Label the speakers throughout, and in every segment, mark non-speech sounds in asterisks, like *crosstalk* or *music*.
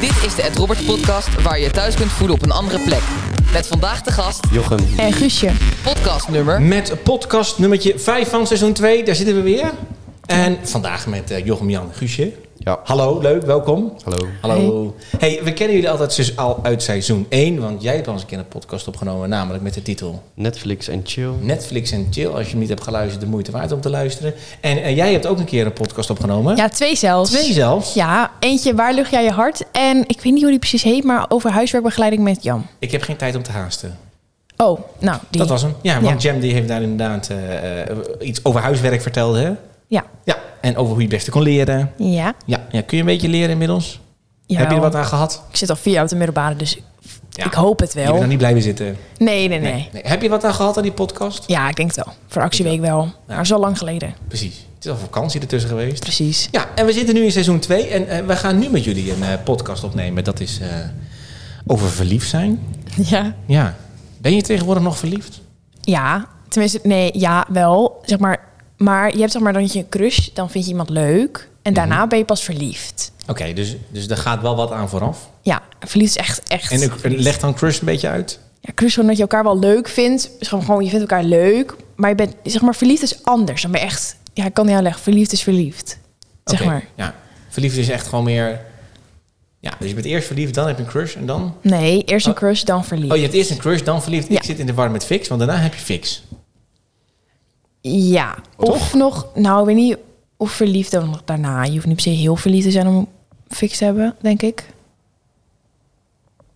Speaker 1: Dit is de Ed Roberts podcast waar je je thuis kunt voelen op een andere plek. Met vandaag de gast,
Speaker 2: Jochem.
Speaker 3: En Eh, Guusje.
Speaker 1: podcast nummer.
Speaker 4: Met podcast nummertje 5 van seizoen 2. Daar zitten we weer. En vandaag met eh, Jochem Jan Guusje.
Speaker 2: Ja.
Speaker 4: Hallo, leuk, welkom.
Speaker 2: Hallo.
Speaker 4: Hallo. Hey. we kennen jullie altijd dus al uit seizoen 1, want jij hebt al eens een keer een podcast opgenomen, namelijk met de titel
Speaker 2: Netflix en chill.
Speaker 4: Netflix en Chill. Als je hem niet hebt geluisterd, de moeite waard om te luisteren. En eh, jij hebt ook een keer een podcast opgenomen.
Speaker 3: Ja, twee zelfs.
Speaker 4: Twee zelfs.
Speaker 3: Ja, eentje Waar lucht jij je hart? En ik weet niet hoe die precies heet, maar over huiswerkbegeleiding met Jan.
Speaker 4: Ik heb geen tijd om te haasten.
Speaker 3: Oh, nou, die.
Speaker 4: Dat was hem. Ja, want
Speaker 3: Ja.
Speaker 4: Jam die heeft daar inderdaad eh, eh, iets over huiswerk verteld, hè?
Speaker 3: Ja.
Speaker 4: Ja, en over hoe je het beste kon leren.
Speaker 3: Ja.
Speaker 4: Ja, ja, kun je een beetje leren inmiddels? Heb je er
Speaker 3: Jawel.
Speaker 4: wat aan gehad?
Speaker 3: Ik zit al vier jaar op de middelbare, dus
Speaker 4: Ja.
Speaker 3: ik hoop het
Speaker 4: Je
Speaker 3: wel.
Speaker 4: bent nog niet blijven zitten.
Speaker 3: Nee, nee, nee,
Speaker 4: Heb je wat aan gehad aan die podcast?
Speaker 3: Ja, ik denk het wel. Voor actieweek wel. Maar zo lang geleden.
Speaker 4: Precies. Het is al vakantie ertussen geweest.
Speaker 3: Precies.
Speaker 4: Ja, en we zitten nu in seizoen 2 en eh, we gaan nu met jullie een eh, podcast opnemen. Dat is eh, over verliefd zijn.
Speaker 3: Ja.
Speaker 4: *laughs* Ja. Ben je tegenwoordig nog verliefd?
Speaker 3: Ja. Tenminste, nee, ja, wel. Zeg maar, maar je hebt zeg maar dan je een crush, dan vind je iemand leuk.
Speaker 4: Mhm.
Speaker 3: En daarna ben je pas verliefd.
Speaker 4: Oké, dus, dus daar gaat wel wat aan vooraf.
Speaker 3: Ja, verliefd is echt, echt...
Speaker 4: En ik- leg dan crush een beetje uit.
Speaker 3: Ja, crush gewoon dat je elkaar wel leuk vindt. Dus gewoon, gewoon, je vindt elkaar leuk. Maar je bent, zeg maar, verliefd is anders. Dan ben je echt, ja, ik kan niet uitleggen. Verliefd is verliefd. Zeg
Speaker 4: Oké,
Speaker 3: maar.
Speaker 4: Ja. Verliefd is echt gewoon meer... Ja, dus je bent eerst verliefd, dan heb je een crush en dan...
Speaker 3: Nee, eerst een crush, dan verliefd.
Speaker 4: Oh, je hebt eerst een crush, dan verliefd.
Speaker 3: Ja.
Speaker 4: Ik zit in de war met fix, want daarna heb je fix.
Speaker 3: Ja.
Speaker 4: Oh,
Speaker 3: Of nog, nou, ik weet niet of verliefd dan nog daarna. Je hoeft niet per se heel verliefd te zijn om fix te hebben, denk ik.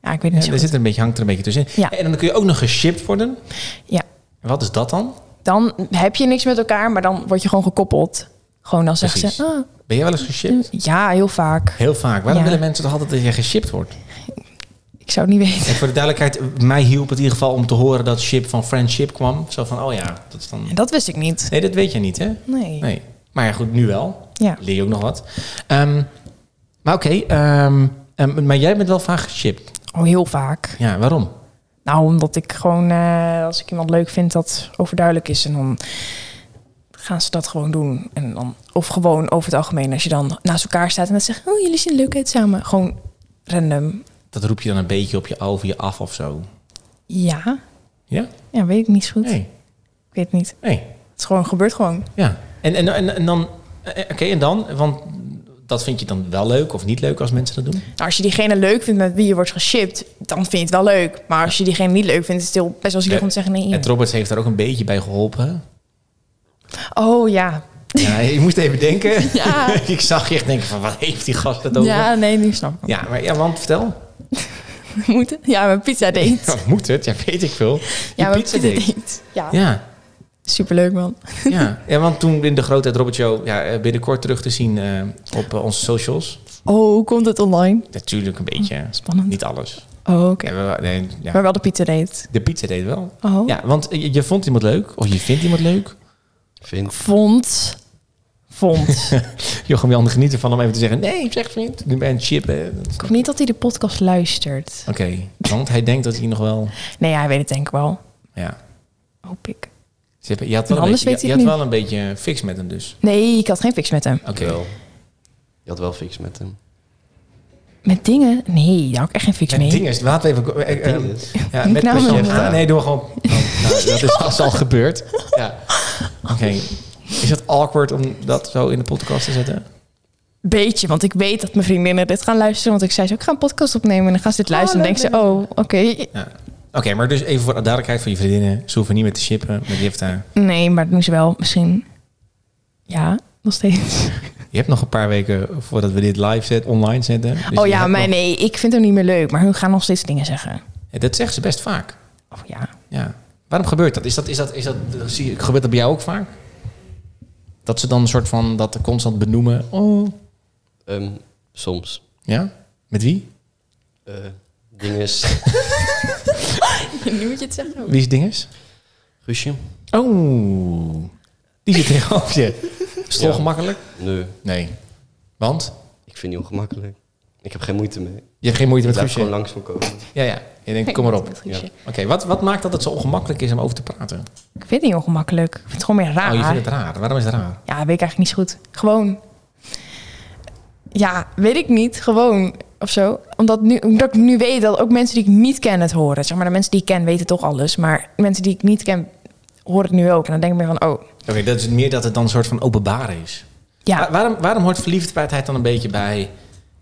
Speaker 3: Ja, ik weet niet
Speaker 4: Ja,
Speaker 3: zo
Speaker 4: er
Speaker 3: goed.
Speaker 4: zit een beetje, hangt er een beetje tussenin.
Speaker 3: Ja.
Speaker 4: En dan kun je ook nog geshipped worden.
Speaker 3: Ja.
Speaker 4: En wat is dat dan?
Speaker 3: Dan heb je niks met elkaar, maar dan word je gewoon gekoppeld. Gewoon dan zeggen
Speaker 4: Precies.
Speaker 3: ze, ah,
Speaker 4: Ben je wel eens geshipped?
Speaker 3: ja, heel vaak.
Speaker 4: Heel vaak. Waarom
Speaker 3: Ja.
Speaker 4: willen mensen toch altijd dat je geshipped wordt?
Speaker 3: Ik zou het niet weten. *laughs*
Speaker 4: En voor de duidelijkheid, mij hielp het in ieder geval om te horen dat ship van friendship kwam. Zo van, oh ja, dat is dan...
Speaker 3: En dat wist ik niet.
Speaker 4: Nee, dat weet jij niet, hè?
Speaker 3: Nee.
Speaker 4: Nee. Maar ja, goed, nu wel.
Speaker 3: Ja.
Speaker 4: Leer je ook nog wat. Ehm, maar oké, ehm, ehm, maar jij bent wel vaak geshipped.
Speaker 3: Oh, heel vaak.
Speaker 4: Ja, waarom?
Speaker 3: Nou, omdat ik gewoon, eh, als ik iemand leuk vind, dat overduidelijk is. En dan gaan ze dat gewoon doen. En dan, of gewoon over het algemeen, als je dan naast elkaar staat en dan zegt, oh, jullie zien er leuk uit samen. Gewoon random.
Speaker 4: Dat roep je dan een beetje op je over je af of zo.
Speaker 3: Ja,
Speaker 4: Ja?
Speaker 3: ja, weet ik niet zo goed.
Speaker 4: Nee.
Speaker 3: Ik weet het niet.
Speaker 4: Nee.
Speaker 3: Het is gewoon, gebeurt gewoon.
Speaker 4: Ja, en, en, en, en dan, eh, oké, en dan, want dat vind je dan wel leuk of niet leuk als mensen dat doen?
Speaker 3: Nou, als je diegene leuk vindt met wie je wordt geshipped, dan vind je het wel leuk. Maar als je diegene niet leuk vindt, is het heel best wel zielig om te zeggen, nee.
Speaker 4: Ed Roberts heeft daar ook een beetje bij geholpen.
Speaker 3: Oh ja. *laughs*
Speaker 4: Ja, je moest even denken.
Speaker 3: Ja.
Speaker 4: *laughs* ik zag je echt denken van, wat heeft die gast het over? Ja,
Speaker 3: Ja, nee, nu snap ik. *laughs*
Speaker 4: maar, ja want vertel.
Speaker 3: We moeten. Ja, mijn pizza date.
Speaker 4: *laughs* Ja, moet het? Ja, weet ik veel. Die
Speaker 3: Ja, mijn
Speaker 4: pizza date.
Speaker 3: Ja.
Speaker 4: Ja,
Speaker 3: superleuk man. *laughs*
Speaker 4: ja. ja, want toen in de grote Ed Roberts show, ja, eh, binnenkort terug te zien eh, op eh, onze socials.
Speaker 3: Oh, hoe komt het online?
Speaker 4: Natuurlijk een beetje. hè.
Speaker 3: Oh, Spannend.
Speaker 4: Niet alles.
Speaker 3: Oh, oké.
Speaker 4: Ja, we- nee, ja.
Speaker 3: Maar wel de Pieter deed.
Speaker 4: De pizza deed wel.
Speaker 3: Oh.
Speaker 4: Ja, want eh, je, je vond iemand leuk, of je vindt iemand leuk.
Speaker 2: Vind.
Speaker 3: Vond. *laughs* Vond.
Speaker 4: Jochem Jan geniet ervan om even te zeggen... Nee, zeg vriend, nu ben je een chip. hè. Dat-
Speaker 3: ik hoop niet dat hij de podcast luistert.
Speaker 4: Oké, want hij denkt dat hij nog wel...
Speaker 3: Nee, hij weet het denk ik wel.
Speaker 4: Ja.
Speaker 3: Hoop ik.
Speaker 4: Ze hebben- Je had, wel
Speaker 3: En
Speaker 4: een
Speaker 3: anders
Speaker 4: beetje, je,
Speaker 3: weet
Speaker 4: je
Speaker 3: hij
Speaker 4: had
Speaker 3: het
Speaker 4: wel een beetje fix met hem dus.
Speaker 3: Nee, ik had geen fix met hem.
Speaker 4: Oké.
Speaker 2: Wel. Je had wel fix met hem.
Speaker 3: Met dingen? Nee, daar had ik echt geen fix
Speaker 4: En
Speaker 3: mee.
Speaker 4: het ding is, laten we even... eh, eh,
Speaker 2: Dinges.
Speaker 4: ja, met
Speaker 3: Nou,
Speaker 4: persoon
Speaker 3: nou.
Speaker 4: A. Nee, doe maar gewoon... Oh, nou, dat is
Speaker 3: *laughs*
Speaker 4: al- al gebeurd. Ja. Oké. Is het awkward om dat zo in de podcast te zetten?
Speaker 3: Beetje, want ik weet dat mijn vriendinnen dit gaan luisteren. Want ik zei ze, ik ga een podcast opnemen. En dan gaan ze dit luisteren. en
Speaker 4: leuk,
Speaker 3: dan denken ze, oh, oké.
Speaker 4: Ja. Oké, maar dus even voor de duidelijkheid van je vriendinnen. Ze hoeven niet meer te shippen met Jifta.
Speaker 3: Nee, maar dat doen ze wel. Misschien. Ja, nog steeds.
Speaker 4: Je hebt nog een paar weken voordat we dit live zet, online zetten. Dus
Speaker 3: oh
Speaker 4: je
Speaker 3: ja,
Speaker 4: hebt
Speaker 3: maar
Speaker 4: nog-
Speaker 3: nee, ik vind hem niet meer leuk. Maar hun gaan nog steeds dingen zeggen.
Speaker 4: Ja, Dat zegt ze best vaak.
Speaker 3: Oh ja.
Speaker 4: Ja. Waarom gebeurt dat? Is dat, is dat, is dat, zie, je- gebeurt dat bij jou ook vaak? Dat ze dan een soort van dat constant benoemen. Oh.
Speaker 2: Ehm, soms.
Speaker 4: Ja? Met wie?
Speaker 2: Eh
Speaker 4: *laughs*
Speaker 2: dinges.
Speaker 3: nu moet je het zeggen.
Speaker 4: Wie is Dinges?
Speaker 2: Guusje?
Speaker 4: Oh. Die zit tegenover je. *laughs* Is het
Speaker 2: Ja.
Speaker 4: ongemakkelijk?
Speaker 2: Nee.
Speaker 4: Nee. Want?
Speaker 2: Ik vind die ongemakkelijk. Ik heb geen moeite mee.
Speaker 4: Je hebt geen moeite
Speaker 2: Ik
Speaker 4: met
Speaker 2: blijf
Speaker 4: Guusje?
Speaker 2: gewoon langs me komen.
Speaker 4: Ja, ja. Je denkt, kom maar op.
Speaker 3: Met Guusje.
Speaker 2: Ja.
Speaker 4: Oké, wat, wat maakt dat het zo ongemakkelijk is om over te praten?
Speaker 3: Ik vind het niet ongemakkelijk. Ik vind het gewoon meer raar.
Speaker 4: Oh, je vindt het raar. Waarom is het raar?
Speaker 3: Ja, weet ik eigenlijk niet zo goed. Gewoon. Ja, weet ik niet. Gewoon. of zo. Omdat, nu, omdat ik nu weet dat ook mensen die ik niet ken het horen. Zeg maar, de mensen die ik ken weten toch alles. Maar mensen die ik niet ken horen het nu ook. En dan denk ik meer van, oh,
Speaker 4: Oké, dat is meer dat het dan een soort van openbaar is.
Speaker 3: ja.
Speaker 4: Wa- waarom, waarom hoort verliefdheid dan een beetje bij,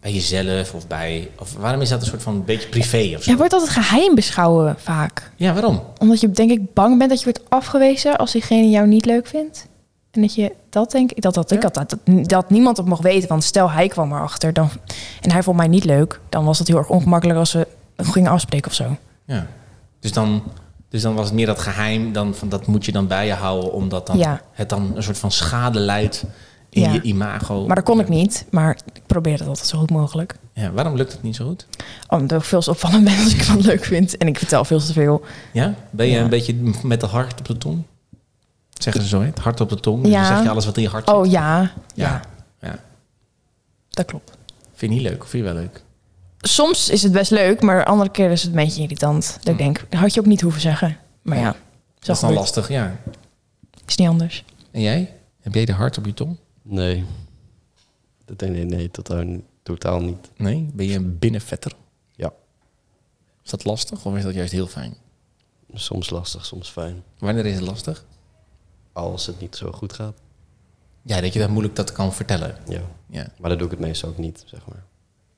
Speaker 4: bij jezelf of bij... Of waarom is dat een soort van een beetje privé of zo?
Speaker 3: Je wordt altijd geheim beschouwen vaak.
Speaker 4: Ja, waarom?
Speaker 3: Omdat je denk ik bang bent dat je wordt afgewezen als diegene jou niet leuk vindt. En dat je dat denk ik, dat, dat ik had dat, dat, dat niemand het mocht weten. Want stel hij kwam erachter dan, en hij vond mij niet leuk, dan was dat heel erg ongemakkelijk als we gingen afspreken of zo.
Speaker 4: Ja. Dus dan, dus dan was het meer dat geheim, dan, van, dat moet je dan bij je houden, omdat dan
Speaker 3: Ja.
Speaker 4: het dan een soort van schade leidt in
Speaker 3: Ja.
Speaker 4: je imago.
Speaker 3: Maar dat kon ik niet, maar ik probeerde dat altijd zo goed mogelijk. Oh,
Speaker 4: Ja, waarom lukt het niet zo goed?
Speaker 3: Omdat ik veel te opvallend ben als ik wat leuk vind. En ik vertel veel te veel.
Speaker 4: Ja? Ben je
Speaker 3: Ja.
Speaker 4: een beetje met de hart op de tong? Zeggen ze zo, hè? het hart op de tong. Dus
Speaker 3: Ja.
Speaker 4: dan zeg je alles wat in je hart zit.
Speaker 3: Oh ja, ja,
Speaker 4: ja. Ja.
Speaker 3: dat klopt.
Speaker 4: Vind je niet leuk? Of vind je wel leuk?
Speaker 3: Soms is het best leuk, maar andere keer is het een beetje irritant. Dat ik denk, dat had je ook niet hoeven zeggen. Maar ja,
Speaker 4: Dat is dan
Speaker 3: gebeurd.
Speaker 4: lastig, ja.
Speaker 3: Is niet anders.
Speaker 4: En jij? Heb jij de hart op je tong?
Speaker 2: Nee. Dat- Nee, nee, nee, totaal, niet- totaal niet.
Speaker 4: Nee? Ben je een binnenvetter?
Speaker 2: Ja.
Speaker 4: Is dat lastig of is dat juist heel fijn?
Speaker 2: Soms lastig, soms fijn.
Speaker 4: Wanneer is het lastig?
Speaker 2: Als het niet zo goed gaat.
Speaker 4: Ja, dat je dat moeilijk dat kan vertellen.
Speaker 2: Ja.
Speaker 4: Ja.
Speaker 2: Maar dat doe ik het meestal ook niet, zeg maar.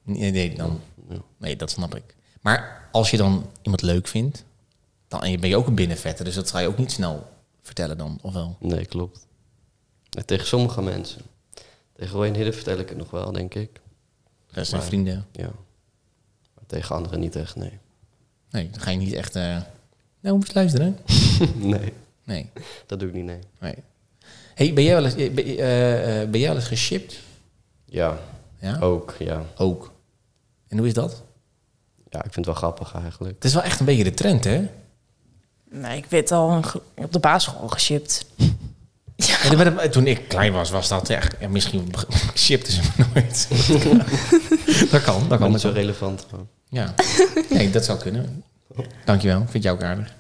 Speaker 4: Nee, nee, dan,
Speaker 2: Ja.
Speaker 4: nee, dat snap ik. Maar als je dan iemand leuk vindt, dan en je- ben je ook een binnenvetter. Dus dat ga je ook niet snel vertellen dan, of wel?
Speaker 2: Nee, klopt. En tegen sommige mensen. Tegen Roy en Hidde vertel ik het nog wel, denk ik.
Speaker 4: Dat zijn
Speaker 2: Maar-
Speaker 4: vrienden.
Speaker 2: Ja. Maar tegen anderen niet echt, nee.
Speaker 4: Nee, dan ga je niet echt... eh, nou, moet je luisteren.
Speaker 2: nee,
Speaker 4: *laughs* Nee,
Speaker 2: dat doe ik niet, nee.
Speaker 4: nee. hey, ben jij wel eens, eh, ben, je- eh, eh, ben jij wel eens geshipped?
Speaker 2: Ja,
Speaker 4: Ja?
Speaker 2: ook, ja.
Speaker 4: Ook. En hoe is dat?
Speaker 2: Ja, ik vind het wel grappig eigenlijk.
Speaker 4: Het is wel echt een beetje de trend, hè?
Speaker 3: Nee, ik werd al een gro- op de basisschool geshipped.
Speaker 4: Ja, maar dat- toen ik klein was, was dat echt... Ja, misschien *laughs* shipten ze me nooit. *laughs* dat kan, dat
Speaker 2: Maar
Speaker 4: kan.
Speaker 2: niet zo relevant gewoon.
Speaker 4: Ja, nee, dat zou kunnen. Dankjewel, vind jou ook aardig.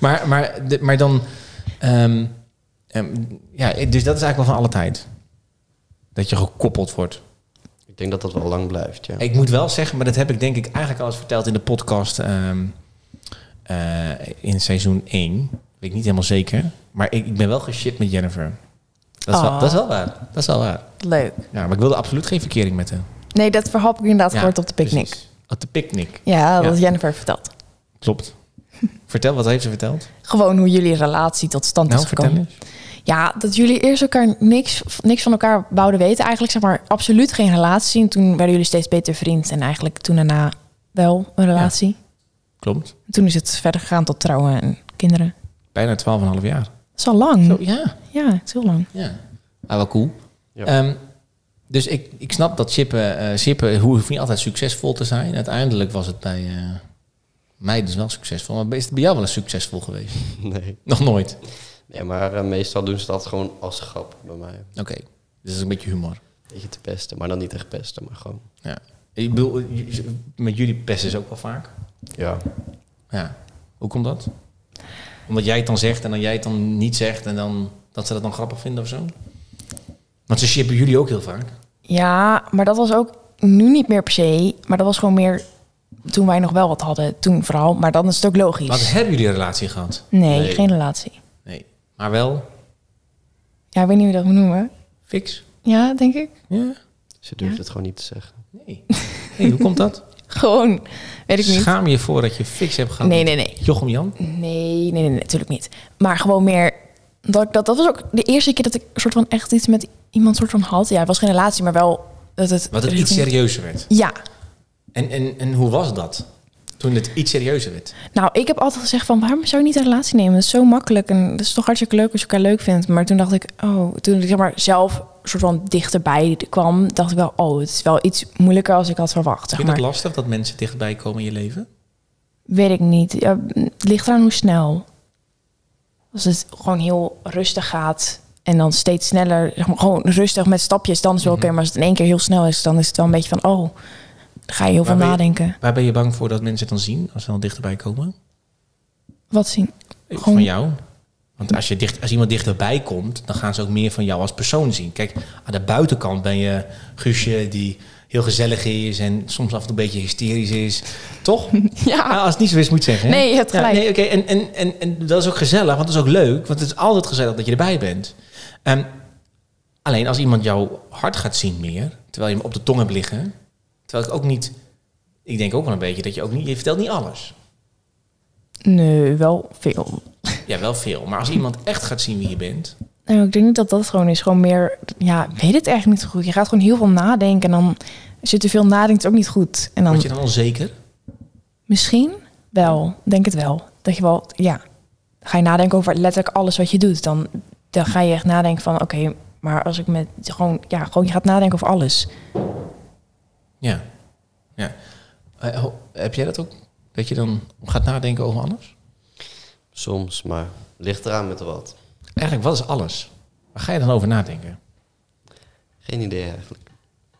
Speaker 4: maar, maar, de- maar dan... ehm, ehm, ja, dus dat is eigenlijk wel van alle tijd. Dat je gekoppeld wordt.
Speaker 2: Ik denk dat dat wel lang blijft, ja.
Speaker 4: Ik moet wel zeggen, maar dat heb ik denk ik eigenlijk al eens verteld in de podcast ehm, eh, in seizoen 1. Weet ik niet helemaal zeker. Maar ik, ik ben wel geshipped met Jennifer. Dat is, wel,
Speaker 3: Ah.
Speaker 4: dat is wel waar. Dat is wel waar.
Speaker 3: Leuk.
Speaker 4: Ja, maar ik wilde absoluut geen verkering met hem.
Speaker 3: Nee, dat verhap ik inderdaad
Speaker 4: Ja,
Speaker 3: gehoord op de picknick.
Speaker 4: precies. Op de picknick.
Speaker 3: Ja,
Speaker 4: Ja.
Speaker 3: wat Jennifer vertelt.
Speaker 4: Klopt.
Speaker 3: *laughs*
Speaker 4: Vertel, wat heeft ze verteld?
Speaker 3: Gewoon hoe jullie relatie tot stand
Speaker 4: Nou,
Speaker 3: is
Speaker 4: vertel
Speaker 3: gekomen.
Speaker 4: eens.
Speaker 3: Ja, dat jullie eerst elkaar niks, niks van elkaar wouden weten. Eigenlijk zeg maar absoluut geen relatie. En toen werden jullie steeds beter vriend. En eigenlijk toen daarna wel een relatie.
Speaker 4: Klopt.
Speaker 3: En toen is het verder gegaan tot trouwen en kinderen.
Speaker 4: Bijna 12,5 jaar.
Speaker 3: Dat is al lang.
Speaker 4: ja.
Speaker 3: Ja, het is heel lang.
Speaker 4: ja. Ah, wel cool.
Speaker 2: Ja.
Speaker 4: Ehm, dus ik, ik snap dat chippen, eh chippen hoe- hoeft niet altijd succesvol te zijn. Uiteindelijk was het bij eh, mij dus wel succesvol. Maar is het bij jou wel eens succesvol geweest?
Speaker 2: *laughs* Nee.
Speaker 4: *laughs* Nog nooit.
Speaker 2: Nee, maar eh, meestal doen ze dat gewoon als grap bij mij.
Speaker 4: Oké, dus dat is een beetje humor.
Speaker 2: Beetje te pesten, maar dan niet echt pesten, maar gewoon...
Speaker 4: Ja. Ik bedoel, j- met jullie pesten ze ook wel vaak.
Speaker 2: Ja,
Speaker 4: Ja. Hoe komt dat? Omdat jij het dan zegt en dan jij het dan niet zegt en dan dat ze dat dan grappig vinden of zo? Want ze chippen jullie ook heel vaak.
Speaker 3: Ja, maar dat was ook nu niet meer per se. Maar dat was gewoon meer toen wij nog wel wat hadden. Toen vooral. Maar dan is het ook logisch.
Speaker 4: Maar hebben jullie een relatie gehad?
Speaker 3: Nee,
Speaker 2: Nee.
Speaker 3: geen relatie.
Speaker 4: Nee. Maar wel
Speaker 3: Ja, ik weet niet hoe je dat moet noemen.
Speaker 4: fix?
Speaker 3: Ja, denk ik.
Speaker 4: Ja.
Speaker 2: ze durft het gewoon niet te zeggen.
Speaker 4: Nee. nee hoe komt dat?
Speaker 3: Gewoon, weet *laughs* ik niet.
Speaker 4: Schaam je voor dat je fix hebt gehad?
Speaker 3: Nee,
Speaker 4: met
Speaker 3: nee, nee.
Speaker 4: Jochem Jan?
Speaker 3: Nee, nee, nee, nee, natuurlijk niet. Maar gewoon meer. Dat, ik dat, dat was ook de eerste keer dat ik soort van echt iets met iemand soort van had. Ja, het was geen relatie, maar wel dat het.
Speaker 4: Wat het iets serieuzer werd.
Speaker 3: Ja.
Speaker 4: En, en, en hoe was dat? Toen het iets serieuzer werd.
Speaker 3: Nou, ik heb altijd gezegd van waarom zou je niet een relatie nemen? Dat is zo makkelijk en dat is toch hartstikke leuk als je elkaar leuk vindt. Maar toen dacht ik, oh, toen ik zeg maar zelf soort van dichterbij kwam, dacht ik wel, oh, het is wel iets moeilijker als ik had verwacht. Zeg
Speaker 4: Vind je
Speaker 3: maar.
Speaker 4: het lastig dat mensen dichtbij komen in je leven?
Speaker 3: Weet ik niet. Ja, het ligt eraan hoe snel. Als het gewoon heel rustig gaat en dan steeds sneller, zeg maar, gewoon rustig met stapjes, dan is het wel oké.
Speaker 4: Mhm.
Speaker 3: Maar als het in één keer heel snel is, dan is het wel een beetje van, oh, dan ga je heel
Speaker 4: Maar
Speaker 3: veel
Speaker 4: ben je-
Speaker 3: nadenken.
Speaker 4: Waar ben je bang voor dat mensen het dan zien als ze dan dichterbij komen?
Speaker 3: Wat zien?
Speaker 4: Van
Speaker 3: Gewoon-
Speaker 4: jou? Want als, je dicht, als iemand dichterbij komt, dan gaan ze ook meer van jou als persoon zien. Kijk, aan de buitenkant ben je Guusje die heel heel gezellig is en soms af en toe een beetje hysterisch is. Toch?
Speaker 3: *laughs* *laughs* Ja.
Speaker 4: Ah, als het niet zo is, moet je het zeggen. hè?
Speaker 3: Nee, je hebt
Speaker 4: Ja,
Speaker 3: gelijk.
Speaker 4: nee, oké. En, en, en, en dat is ook gezellig, want dat is ook leuk. Want het is altijd gezellig dat je erbij bent. Ehm, alleen als iemand jou hard gaat zien meer, terwijl je hem op de tong hebt liggen. Terwijl ik ook niet... Ik denk ook wel een beetje dat je ook niet... Je vertelt niet alles.
Speaker 3: Nee, wel veel.
Speaker 4: Ja, wel veel. Maar als iemand echt gaat zien wie je bent...
Speaker 3: Nou, ik denk niet dat dat het gewoon is. Gewoon meer, ja, ik weet het eigenlijk niet zo goed. Je gaat gewoon heel veel nadenken. En dan, als je te veel nadenkt, is het ook niet goed. En dan,
Speaker 4: Word je dan onzeker?
Speaker 3: misschien wel, denk het wel. Dat je wel, ja, ga je nadenken over letterlijk alles wat je doet. Dan, dan ga je echt nadenken van, oké, maar als ik met, gewoon, ja, gewoon, je gaat nadenken over alles.
Speaker 4: Ja. ja. Eh, ho- heb jij dat ook? Dat je dan gaat nadenken over alles?
Speaker 2: Soms, maar ligt eraan met wat.
Speaker 4: Eigenlijk, wat is alles? Waar ga je dan over nadenken?
Speaker 2: Geen idee eigenlijk.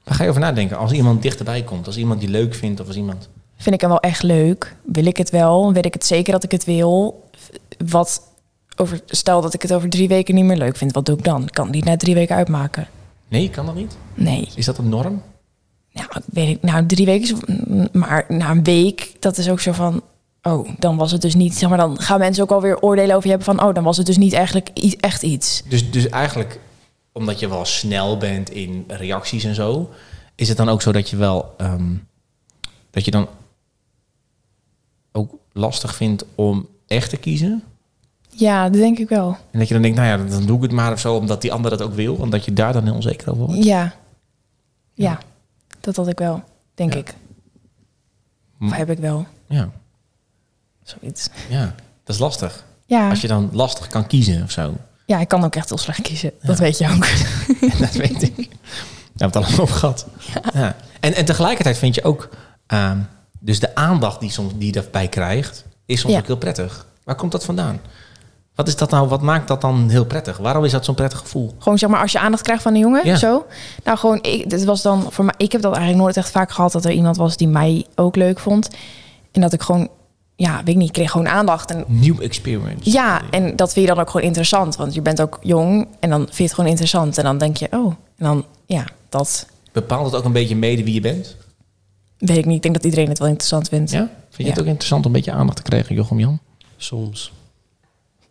Speaker 4: Waar ga je over nadenken als iemand dichterbij komt? Als iemand die leuk vindt of als iemand...
Speaker 3: Vind ik hem wel echt leuk? Wil ik het wel? Weet ik het zeker dat ik het wil? Wat, over, stel dat ik het over drie weken niet meer leuk vind, wat doe ik dan? Ik kan het niet na drie weken uitmaken.
Speaker 4: Nee, kan dat niet?
Speaker 3: Nee.
Speaker 4: Is dat een norm?
Speaker 3: Nou, weet ik, nou drie weken, is- mm, maar na een week, dat is ook zo van, oh, dan was het dus niet, zeg maar, dan gaan mensen ook alweer oordelen over je hebben van, oh, dan was het dus niet eigenlijk i- echt iets.
Speaker 4: Dus, dus eigenlijk, omdat je wel snel bent in reacties en zo... is het dan ook zo dat je wel... ehm, dat je dan ook lastig vindt om echt te kiezen?
Speaker 3: Ja, dat denk ik wel.
Speaker 4: En dat je dan denkt, nou ja, dan doe ik het maar of zo... omdat die ander dat ook wil. Omdat je daar dan heel onzeker over wordt.
Speaker 3: Ja. Ja, dat had ik wel, denk
Speaker 4: Ja.
Speaker 3: ik.
Speaker 4: Hm.
Speaker 3: Of heb ik wel,
Speaker 4: Ja,
Speaker 3: zoiets.
Speaker 4: ja. dat is lastig.
Speaker 3: Ja,
Speaker 4: Als je dan lastig kan kiezen of zo.
Speaker 3: ja ik kan ook echt heel slecht kiezen, dat weet je ook.
Speaker 4: *laughs* dat weet ik. Daar hebben we het allemaal over gehad. Ja. En, en tegelijkertijd vind je ook... ehm, dus de aandacht die, soms, die je daarbij krijgt... is soms
Speaker 3: Ja.
Speaker 4: ook heel prettig. Waar komt dat vandaan? Wat, is dat nou, wat maakt dat dan heel prettig? Waarom is dat zo'n prettig gevoel?
Speaker 3: Gewoon zeg maar als je aandacht krijgt van een jongen,
Speaker 4: Ja.
Speaker 3: zo. Nou gewoon, ik, dit was dan voor mij. Ik heb dat eigenlijk nooit echt vaak gehad dat er iemand was die mij ook leuk vond. En dat ik gewoon, ja, weet ik niet, ik kreeg gewoon aandacht. En
Speaker 4: Nieuw experience.
Speaker 3: ja, en dat vind je dan ook gewoon interessant, want je bent ook jong en dan vind je het gewoon interessant. En dan denk je, oh, en dan, ja, dat
Speaker 4: Bepaalt het ook een beetje mede wie je bent?
Speaker 3: weet ik niet. Ik denk dat iedereen het wel interessant vindt.
Speaker 4: Ja? Vind je het
Speaker 3: Ja.
Speaker 4: ook interessant om een beetje aandacht te krijgen, Jochem Jan?
Speaker 2: Soms.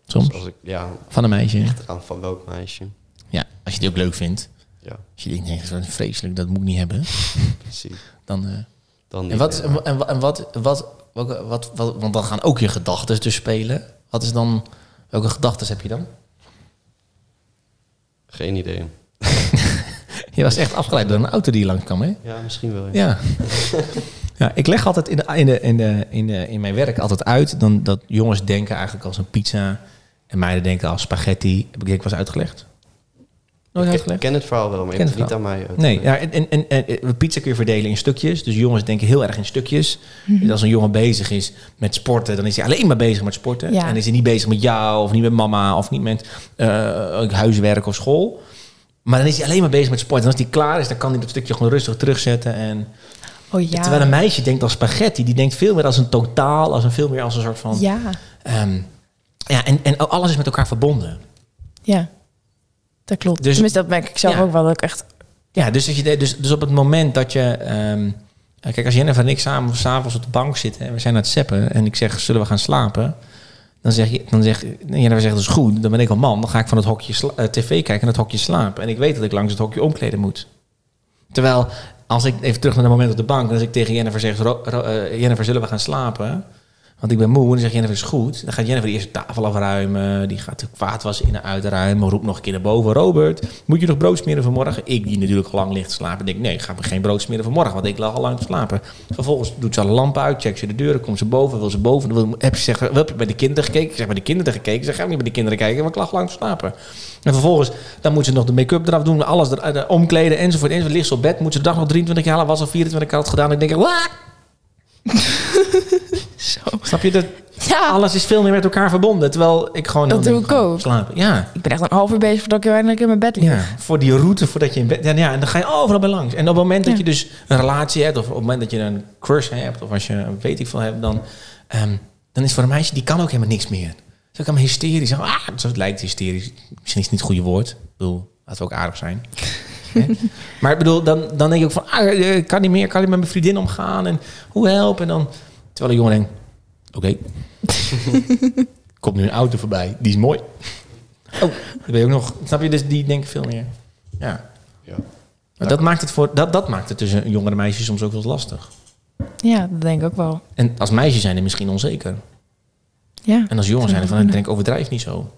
Speaker 4: Soms?
Speaker 2: Als ik, ja,
Speaker 4: Van een meisje?
Speaker 2: eraan van welk meisje.
Speaker 4: Ja, als je het ook leuk vindt.
Speaker 2: Ja,
Speaker 4: Als je denkt, nee, dat is wel vreselijk, dat moet ik niet hebben.
Speaker 2: precies.
Speaker 4: Dan... eh,
Speaker 2: Dan
Speaker 4: En
Speaker 2: niet
Speaker 4: wat,
Speaker 2: meer.
Speaker 4: en, wa- en wat, wat, welke, wat, wat, want dan gaan ook je gedachten dus spelen. Wat is dan, welke gedachten heb je dan?
Speaker 2: Geen idee.
Speaker 4: Je was echt afgeleid door een auto die langs kwam, hè?
Speaker 2: Ja, misschien wel. Ja.
Speaker 4: Ja. ja ik leg altijd in, de, in, de, in, de, in, de, in mijn werk altijd uit dan, dat jongens denken eigenlijk als een pizza en meiden denken als spaghetti. Heb ik denk ik was uitgelegd? Nooit
Speaker 2: Ik ken,
Speaker 4: uitgelegd?
Speaker 2: ken het verhaal wel, maar je
Speaker 4: Ken
Speaker 2: hebt het
Speaker 4: het
Speaker 2: niet aan mij. uit.
Speaker 4: Nee, ja, en, en, en, en pizza kun je verdelen in stukjes. Dus jongens denken heel erg in stukjes.
Speaker 3: Mhm.
Speaker 4: Dus als een jongen bezig is met sporten, dan is hij alleen maar bezig met sporten.
Speaker 3: Ja.
Speaker 4: En is hij niet bezig met jou, of niet met mama, of niet met eh, huiswerk of school. Maar dan is hij alleen maar bezig met sport. En als hij klaar is, dan kan hij dat stukje gewoon rustig terugzetten. En...
Speaker 3: Oh ja.
Speaker 4: Terwijl een meisje denkt als spaghetti, die denkt veel meer als een totaal, als een veel meer als een soort van.
Speaker 3: Ja,
Speaker 4: ehm, ja en, en alles is met elkaar verbonden.
Speaker 3: ja. Dat klopt.
Speaker 4: Dus-
Speaker 3: Tenminste, dat merk ik zelf
Speaker 4: Ja.
Speaker 3: ook wel. Dat ik echt,
Speaker 4: Ja, dus, dat je, de- dus, dus op het moment dat je... ehm, eh, kijk, als Jennifer en ik samen s'avonds op de bank zitten... en we zijn aan het zeppen en ik zeg, zullen we gaan slapen? Dan zeg je, dan zeg, Jennifer zegt, dat is goed. Dan ben ik al man, dan ga ik van het hokje sla- eh, tv kijken en het hokje slapen. En ik weet dat ik langs het hokje omkleden moet. Terwijl, als ik even terug naar dat moment op de bank... en als ik tegen Jennifer zeg, Ro- Ro- eh, Jennifer, zullen we gaan slapen? Want ik ben moe. En dan zegt Jennifer, is goed. Dan gaat Jennifer eerst de tafel afruimen. Die gaat de kwaadwas in en uitruimen. Roept nog een keer naar boven. Robert, moet je nog brood smeren vanmorgen? Ik, die natuurlijk al lang ligt te slapen, denk nee, ik ga me geen brood smeren vanmorgen. Want ik lag al lang te slapen. Vervolgens doet ze alle lampen uit, checkt ze de deuren, komt ze boven, wil ze boven. Wil, heb, je zeg, wel, heb je bij de kinderen gekeken? Ik zeg, bij de kinderen gekeken. Ik zeg, ga ik niet bij de kinderen kijken, want ik lag lang te slapen. En vervolgens, dan moet ze nog de make-up eraf doen, alles er, eh, omkleden, enzovoort, enzovoort. Ligt ze op bed, moet ze de dag nog 23 halen, was al 24 had het gedaan. Ik denk, "Wa!" Snap je dat?
Speaker 3: ja,
Speaker 4: *laughs* Alles is veel meer met elkaar verbonden. Terwijl ik gewoon...
Speaker 3: Dat
Speaker 4: dan
Speaker 3: doe
Speaker 4: denk
Speaker 3: ik
Speaker 4: gewoon,
Speaker 3: ook.
Speaker 4: Slapen. Ja.
Speaker 3: ik ben echt een half uur bezig voordat ik uiteindelijk in mijn bed lig.
Speaker 4: ja. Voor die route, voordat je in bed... Ja, ja, en dan ga je overal bij langs. En op het moment dat
Speaker 3: Ja.
Speaker 4: je dus een relatie hebt... of op het moment dat je een crush hebt... of als je een weet ik veel hebt... dan, ehm, dan is voor een meisje... die kan ook helemaal niks meer. Ze kan helemaal hysterisch. Ah, zo het lijkt hysterisch. Misschien is het niet het goede woord. Ik bedoel, laten we ook aardig zijn. Hè? maar ik bedoel, dan, dan denk je ook van, ah, eh, kan niet meer, kan niet met mijn vriendin omgaan en hoe help? En dan, terwijl een jongen denkt, oké, komt nu een auto voorbij, die is mooi. Oh, dat ben je ook nog. Snap je? Dus die denken veel meer. Ja.
Speaker 2: Ja.
Speaker 4: Maar dat maakt, het voor, dat, dat maakt het tussen jongeren en meisjes soms ook wel lastig.
Speaker 3: Ja, dat denk ik ook wel.
Speaker 4: En als meisjes zijn er misschien onzeker.
Speaker 3: Ja.
Speaker 4: En als jongens zijn er van, ik denk, overdrijf niet zo.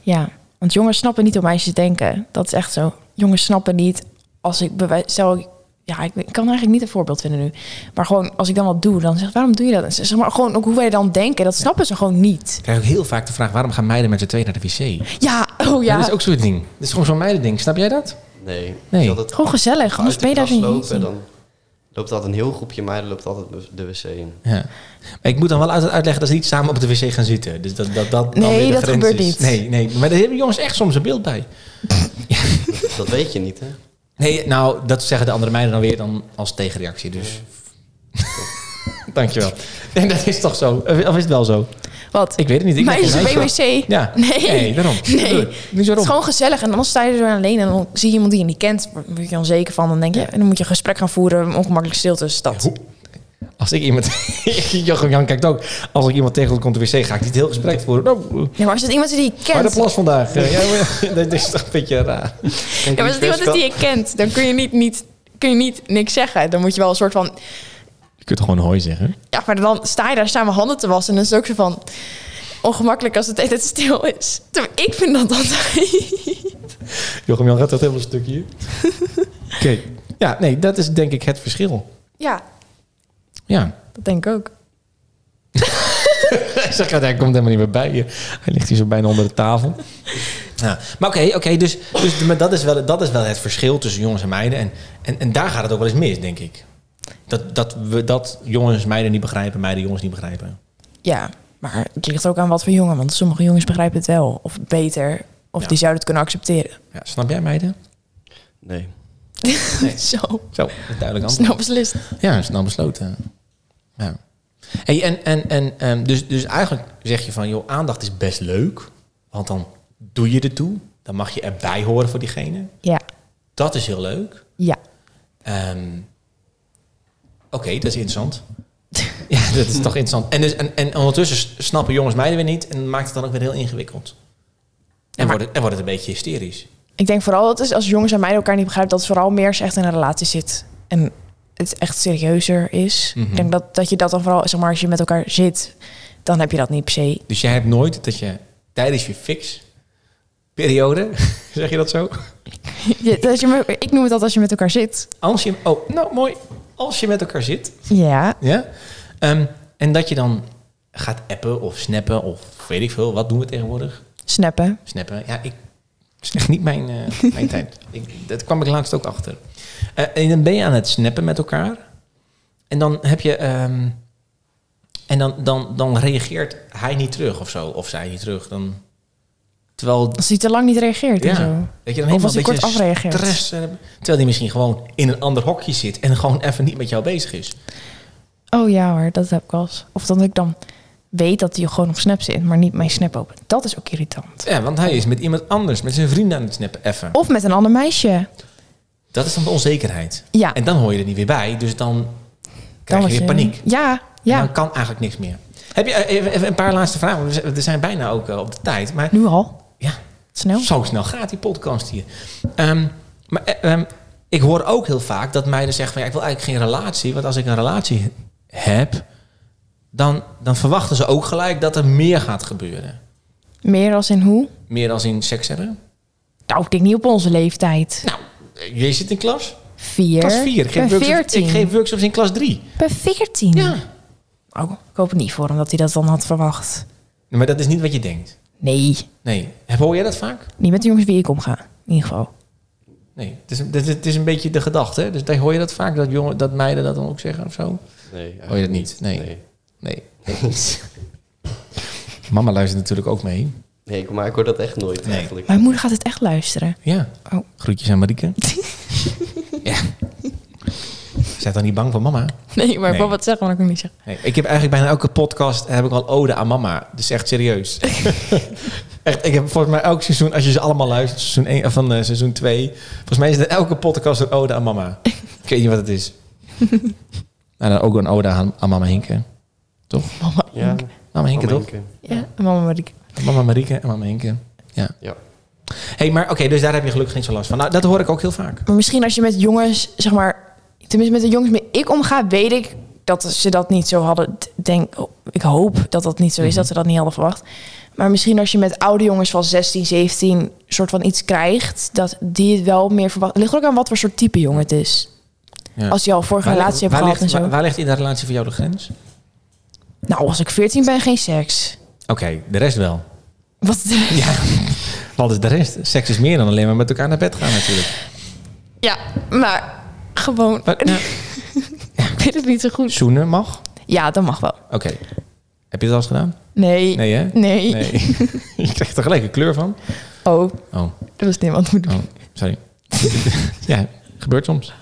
Speaker 3: Ja, want jongens snappen niet hoe meisjes denken. Dat is echt zo. Jongens snappen niet als ik bewijs. Stel, ik- ja, ik, weet- ik kan eigenlijk niet een voorbeeld vinden nu. Maar gewoon als ik dan wat doe, dan zegt waarom doe je dat? En ze- zeg maar gewoon ook hoe wij dan denken, dat snappen ze gewoon niet.
Speaker 4: Ik krijg ook heel vaak de vraag, waarom gaan meiden met z'n tweeën naar de wc?
Speaker 3: Ja, oh ja.
Speaker 4: Dat is ook zo'n ding. Dat is gewoon zo'n meidending. Snap jij dat?
Speaker 2: Nee.
Speaker 4: Nee.
Speaker 2: Ik had het-
Speaker 3: Gewoon gezellig, anders
Speaker 2: uit de
Speaker 3: ben je daar
Speaker 2: klas
Speaker 3: zo
Speaker 2: lopen,
Speaker 3: niet.
Speaker 2: dan loopt altijd een heel groepje meiden loopt altijd de wc
Speaker 4: *laughs*
Speaker 2: in.
Speaker 4: Ja. Maar ik moet dan wel uit- uitleggen dat ze niet samen op de wc gaan zitten. Dus dat, dat, dat dan
Speaker 3: Nee,
Speaker 4: weer de
Speaker 3: dat
Speaker 4: grens
Speaker 3: gebeurt
Speaker 4: is.
Speaker 3: niet.
Speaker 4: Nee, nee, maar daar hebben jongens echt soms een beeld bij.
Speaker 2: Dat weet je niet, hè?
Speaker 4: Nee, nou, dat zeggen de andere meiden dan weer dan als tegenreactie. Dus. *laughs* Dankjewel. En dat is toch zo? Of of is het wel zo?
Speaker 3: Wat?
Speaker 4: Ik weet het niet. Ik
Speaker 3: Meisjes
Speaker 4: denk
Speaker 3: op
Speaker 4: een
Speaker 3: een
Speaker 4: meisje.
Speaker 3: wc?
Speaker 4: Ja.
Speaker 3: *laughs* Nee.
Speaker 4: Nee, daarom.
Speaker 3: Nee.
Speaker 4: Nu zo
Speaker 3: Het is
Speaker 4: rond.
Speaker 3: gewoon gezellig. En dan sta je er alleen en dan zie je iemand die je niet kent. Daar word je onzeker van. Dan denk je, en dan moet je een gesprek gaan voeren. een Ongemakkelijk stilte is dat.
Speaker 4: Hoe- Als ik iemand... *laughs* Jochem Jan kijkt ook. Als ik iemand tegen komt op de wc, ga ik niet heel gesprek voeren. Nou,
Speaker 3: Ja, maar als het iemand is die je
Speaker 4: maar de
Speaker 3: kent,
Speaker 4: plas vandaag. Ja, maar- *laughs* dat is toch een beetje raar.
Speaker 2: Kijk,
Speaker 3: Ja, maar als het iemand is die je kent, dan kun je niet, niet, kun je niet niks zeggen. Dan moet je wel een soort van...
Speaker 4: Je kunt gewoon hooi zeggen.
Speaker 3: Ja, maar dan sta je daar, staan mijn handen te wassen. En dan is het ook zo van... Ongemakkelijk als het *laughs* de hele tijd stil is. Terwijl ik vind dat altijd...
Speaker 4: Jochem Jan gaat dat helemaal *laughs* stukje. Oké. Ja, nee, dat is denk ik het verschil.
Speaker 3: *laughs* Ja,
Speaker 4: Ja.
Speaker 3: dat denk ik ook.
Speaker 4: Hij zegt, ja, hij komt helemaal niet meer bij je. Hij ligt hier zo bijna onder de tafel. Ja. Maar oké, oké, dus, dus maar dat, is wel, dat is wel het verschil tussen jongens en meiden. En, en, en daar gaat het ook wel eens mis, denk ik. Dat, dat, we, dat jongens meiden niet begrijpen, meiden jongens niet begrijpen.
Speaker 3: Ja, maar het ligt ook aan wat voor jongen. Want sommige jongens begrijpen het wel. Of beter. Of
Speaker 4: Ja.
Speaker 3: die zouden het kunnen accepteren.
Speaker 4: Ja, snap jij meiden?
Speaker 2: Nee.
Speaker 3: *laughs* Zo,
Speaker 4: Zo, duidelijk antwoord.
Speaker 3: snel beslist.
Speaker 4: Ja, snel besloten. Ja. Hey, en en, en ehm, dus, dus eigenlijk zeg je van, joh, aandacht is best leuk. Want dan doe je er toe. Dan mag je erbij horen voor diegene.
Speaker 3: Ja,
Speaker 4: Dat is heel leuk.
Speaker 3: ja.
Speaker 4: Ehm, Oké, dat is interessant. *laughs* ja, dat is toch interessant. En, dus, en, en ondertussen s- snappen jongens meiden weer niet. En maakt het dan ook weer heel ingewikkeld.
Speaker 3: maar-
Speaker 4: En, wordt, het, en wordt het een beetje hysterisch.
Speaker 3: Ik denk vooral dat is als jongens en meiden elkaar niet begrijpen, dat het vooral meer als je echt in een relatie zit. En het echt serieuzer is.
Speaker 4: Mhm.
Speaker 3: Ik denk dat, dat je dat dan vooral, zeg maar, als je met elkaar zit, dan heb je dat niet per se.
Speaker 4: Dus jij hebt nooit dat je tijdens je fix periode, *laughs* zeg je dat zo?
Speaker 3: Ja, dat *laughs* je, me- ik noem het dat als je met elkaar zit.
Speaker 4: Als je, oh, nou mooi. Als je met elkaar zit.
Speaker 3: Ja.
Speaker 4: Ja? Ehm, en dat je dan gaat appen of snappen of weet ik veel. Wat doen we tegenwoordig?
Speaker 3: Snappen.
Speaker 4: Snappen. Ja, ik dat is echt niet mijn, eh, *laughs* mijn tijd. Ik, dat kwam ik laatst ook achter. Eh, en dan ben je aan het snappen met elkaar. En dan heb je. ehm, en dan, dan, dan reageert hij niet terug of zo. Of zij niet terug. Dan, terwijl
Speaker 3: Als hij te lang niet reageert en zo.
Speaker 4: dat je dan
Speaker 3: Of
Speaker 4: helemaal
Speaker 3: als hij
Speaker 4: een
Speaker 3: kort
Speaker 4: beetje
Speaker 3: afreageert.
Speaker 4: stress hebt. Terwijl hij misschien gewoon in een ander hokje zit en gewoon even niet met jou bezig is.
Speaker 3: Oh ja hoor, dat heb ik wel eens. Of dat ik dan weet dat hij gewoon op Snap zit, maar niet mijn Snap open. Dat is ook irritant.
Speaker 4: Ja, want hij is met iemand anders, met zijn vrienden aan het snappen, even.
Speaker 3: Of met een ander meisje.
Speaker 4: Dat is dan de onzekerheid.
Speaker 3: Ja.
Speaker 4: En dan hoor je er niet weer bij, dus dan krijg
Speaker 3: was
Speaker 4: je weer paniek.
Speaker 3: Ja,
Speaker 4: En
Speaker 3: ja.
Speaker 4: dan kan eigenlijk niks meer. Heb je eh, even, even een paar laatste vragen? want we zijn- We zijn bijna ook eh, op de tijd. Maar
Speaker 3: Nu al.
Speaker 4: ja,
Speaker 3: Snel.
Speaker 4: Zo snel gaat die podcast hier. Ehm, maar eh, ehm, ik hoor ook heel vaak dat meiden zeggen van... Ja, ik wil eigenlijk geen relatie. Want als ik een relatie heb... Dan, dan verwachten ze ook gelijk dat er meer gaat gebeuren.
Speaker 3: Meer als in hoe?
Speaker 4: Meer dan in seks hebben.
Speaker 3: Nou, ik denk niet op onze leeftijd.
Speaker 4: Nou, eh, jij zit in klas?
Speaker 3: Vier.
Speaker 4: Klas 4.
Speaker 3: ben
Speaker 4: Ik, geef workshops-
Speaker 3: 14.
Speaker 4: ik geef workshops in klas 3.
Speaker 3: Ik ben 14.
Speaker 4: Ja.
Speaker 3: Oh, ik hoop het niet voor hem dat hij dat dan had verwacht.
Speaker 4: Maar dat is niet wat je denkt.
Speaker 3: Nee,
Speaker 4: Nee. Heb- Hoor jij dat vaak?
Speaker 3: niet met de jongens wie ik omga. In ieder geval.
Speaker 4: Nee. Het is, een- het is- het is een beetje de gedachte. hè? Dus daar hoor je dat vaak? Dat, jongen, dat meiden dat dan ook zeggen of zo?
Speaker 2: Nee. eigenlijk
Speaker 4: Hoor je dat niet? Oh, Nee.
Speaker 2: Nee,
Speaker 4: Nee. *laughs* Mama luistert natuurlijk ook mee.
Speaker 2: Nee, ik- maar ik hoor dat echt nooit
Speaker 4: Nee.
Speaker 2: eigenlijk.
Speaker 3: Mijn moeder gaat het echt luisteren.
Speaker 4: Ja.
Speaker 3: Oh.
Speaker 4: Groetjes aan Marieke. ja. Zij dan niet bang voor mama?
Speaker 3: Nee, maar ik
Speaker 4: Nee.
Speaker 3: wil wat zeggen, maar ik kan niet zeggen.
Speaker 4: Nee, ik heb eigenlijk bijna elke podcast heb ik al ode aan mama. Dus echt *laughs* serieus. echt, ik heb volgens mij elk seizoen, als je ze allemaal luistert, seizoen 1, van eh, seizoen 2, volgens mij is er elke podcast een ode aan mama. ik weet niet wat het *laughs* is. nou, dan ook een ode aan, aan mama Hinke.
Speaker 3: Mama.
Speaker 2: Ja, Oh, eh,
Speaker 4: Mama Hinke
Speaker 2: Mama
Speaker 4: toch?
Speaker 2: Henke.
Speaker 3: Ja, en mama Marieke.
Speaker 4: Mama Marieke en mama Hinke. Ja.
Speaker 2: Ja.
Speaker 4: hey, maar oké, dus daar heb je gelukkig geen zo last van. Nou, dat hoor ik ook heel vaak.
Speaker 3: Maar misschien als je met jongens, zeg maar, tenminste met de jongens met ik omga, weet ik dat ze dat niet zo hadden. D- Denk, oh, ik hoop dat dat niet zo is,
Speaker 4: Mhm.
Speaker 3: dat ze dat niet hadden verwacht. Maar misschien als je met oude jongens van 16, 17 soort van iets krijgt, dat die het wel meer verwacht. Het ligt ook aan wat voor soort type jongen het is.
Speaker 4: Ja.
Speaker 3: Als je al vorige
Speaker 4: Waar-
Speaker 3: relatie hebt
Speaker 4: waar
Speaker 3: gehad en
Speaker 4: ligt,
Speaker 3: zo.
Speaker 4: waar, waar ligt in de relatie voor jou de grens?
Speaker 3: nou, als ik 14 ben, geen seks.
Speaker 4: Oké, de rest wel.
Speaker 3: Wat?
Speaker 4: *laughs* Ja, wat is de rest? Seks is meer dan alleen maar met elkaar naar bed gaan natuurlijk.
Speaker 3: *laughs* Ja, maar gewoon.
Speaker 4: Wat?
Speaker 3: ik weet het niet zo goed.
Speaker 4: Zoenen mag?
Speaker 3: Ja, dat mag wel.
Speaker 4: Oké. Heb je dat al eens gedaan?
Speaker 3: Nee.
Speaker 4: Nee, hè?
Speaker 3: Nee.
Speaker 4: Nee. *laughs* je krijgt er gelijk een kleur van.
Speaker 3: Oh,
Speaker 4: Oh,
Speaker 3: dat was niemand moet doen.
Speaker 4: oh sorry. *laughs* ja, gebeurt soms.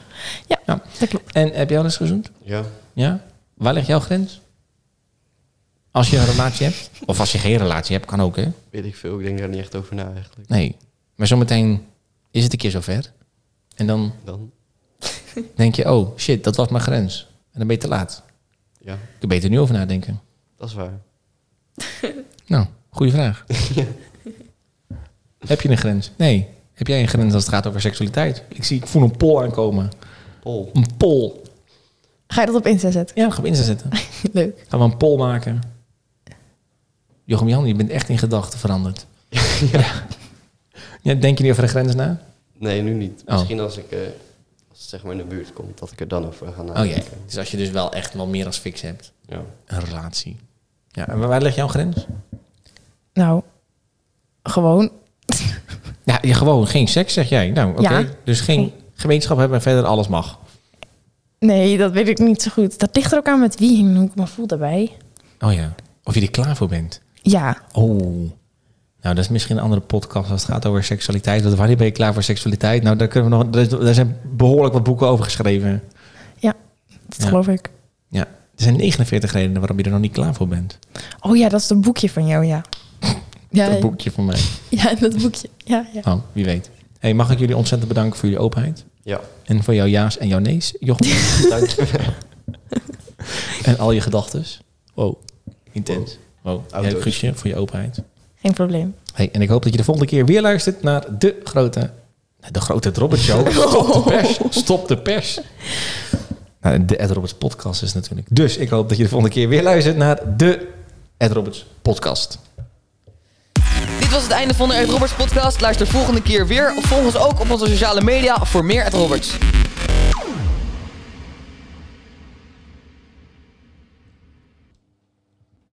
Speaker 3: Dat klopt.
Speaker 4: En heb jij al eens gezoend?
Speaker 2: Ja.
Speaker 4: Ja? Waar ligt jouw grens? Als je een relatie hebt? Of als je geen relatie hebt, kan ook, hè?
Speaker 2: weet ik veel. Ik denk daar niet echt over na eigenlijk.
Speaker 4: Nee. Maar zometeen is het een keer zover. En dan
Speaker 2: Dan,
Speaker 4: denk je, oh shit, dat was mijn grens. En dan ben je te laat.
Speaker 2: ja,
Speaker 4: Ik kan beter nu over nadenken.
Speaker 2: dat is waar.
Speaker 4: Nou, goede vraag. Heb je een grens? Nee. Heb jij een grens als het gaat over seksualiteit? Ik, zie, ik voel een pol aankomen.
Speaker 2: Pol.
Speaker 4: Een pol.
Speaker 3: Ga je dat op Insta zetten?
Speaker 4: Ja, we gaan op Insta zetten.
Speaker 3: *laughs* Leuk.
Speaker 4: Gaan we een pol maken. Jochem Jan, je bent echt in gedachten veranderd. ja. Denk je niet over de grens na?
Speaker 2: Nee, nu niet.
Speaker 4: Oh.
Speaker 2: Misschien als ik eh, als het zeg maar in de buurt kom, dat ik er dan over ga
Speaker 4: Oh ja.
Speaker 2: nadenken.
Speaker 4: Dus als je dus wel echt wel meer als fix hebt.
Speaker 2: ja.
Speaker 4: Een relatie. Ja, en waar ligt jouw grens?
Speaker 3: Nou, gewoon.
Speaker 4: Ja, je gewoon geen seks, zeg jij. Nou, oké.
Speaker 3: Ja.
Speaker 4: Dus geen
Speaker 3: Geen-
Speaker 4: gemeenschap hebben en verder alles mag.
Speaker 3: Nee, dat weet ik niet zo goed. Dat ligt er ook aan met wie en hoe ik me voel daarbij.
Speaker 4: Oh ja. Of je er klaar voor bent.
Speaker 3: Ja,
Speaker 4: Oh. Nou, dat is misschien een andere podcast als het gaat over seksualiteit. Want wanneer ben je klaar voor seksualiteit? Nou, daar, kunnen we nog, daar is- daar zijn behoorlijk wat boeken over geschreven.
Speaker 3: dat
Speaker 4: Ja.
Speaker 3: geloof ik.
Speaker 4: Ja, er zijn 49 redenen waarom je er nog niet klaar voor bent.
Speaker 3: Oh ja, dat is dat boekje van jou, ja. Ja,
Speaker 4: Dat boekje van mij.
Speaker 3: ja dat boekje. Ja, ja.
Speaker 4: Oh, wie weet. Hey, mag ik jullie ontzettend bedanken voor jullie openheid?
Speaker 2: ja,
Speaker 4: En voor jouw ja's en jouw nee's,
Speaker 3: *laughs*
Speaker 4: Jochem.
Speaker 2: dankjewel.
Speaker 4: en al je gedachtes. Wow, intens. Wow,
Speaker 2: Auto's.
Speaker 4: jij, Guusje, voor je openheid.
Speaker 3: Geen probleem.
Speaker 4: Hey, en ik hoop dat je de volgende keer weer luistert naar de grote... De grote Robert Show. Stop de pers. Stop de pers. Nou, de Ed Roberts podcast is natuurlijk. Dus ik hoop dat je de volgende keer weer luistert naar de Ed Roberts podcast.
Speaker 1: Dit was het einde van de Ed Roberts podcast. Luister volgende keer weer of volg ons ook op onze sociale media voor meer Ed Roberts.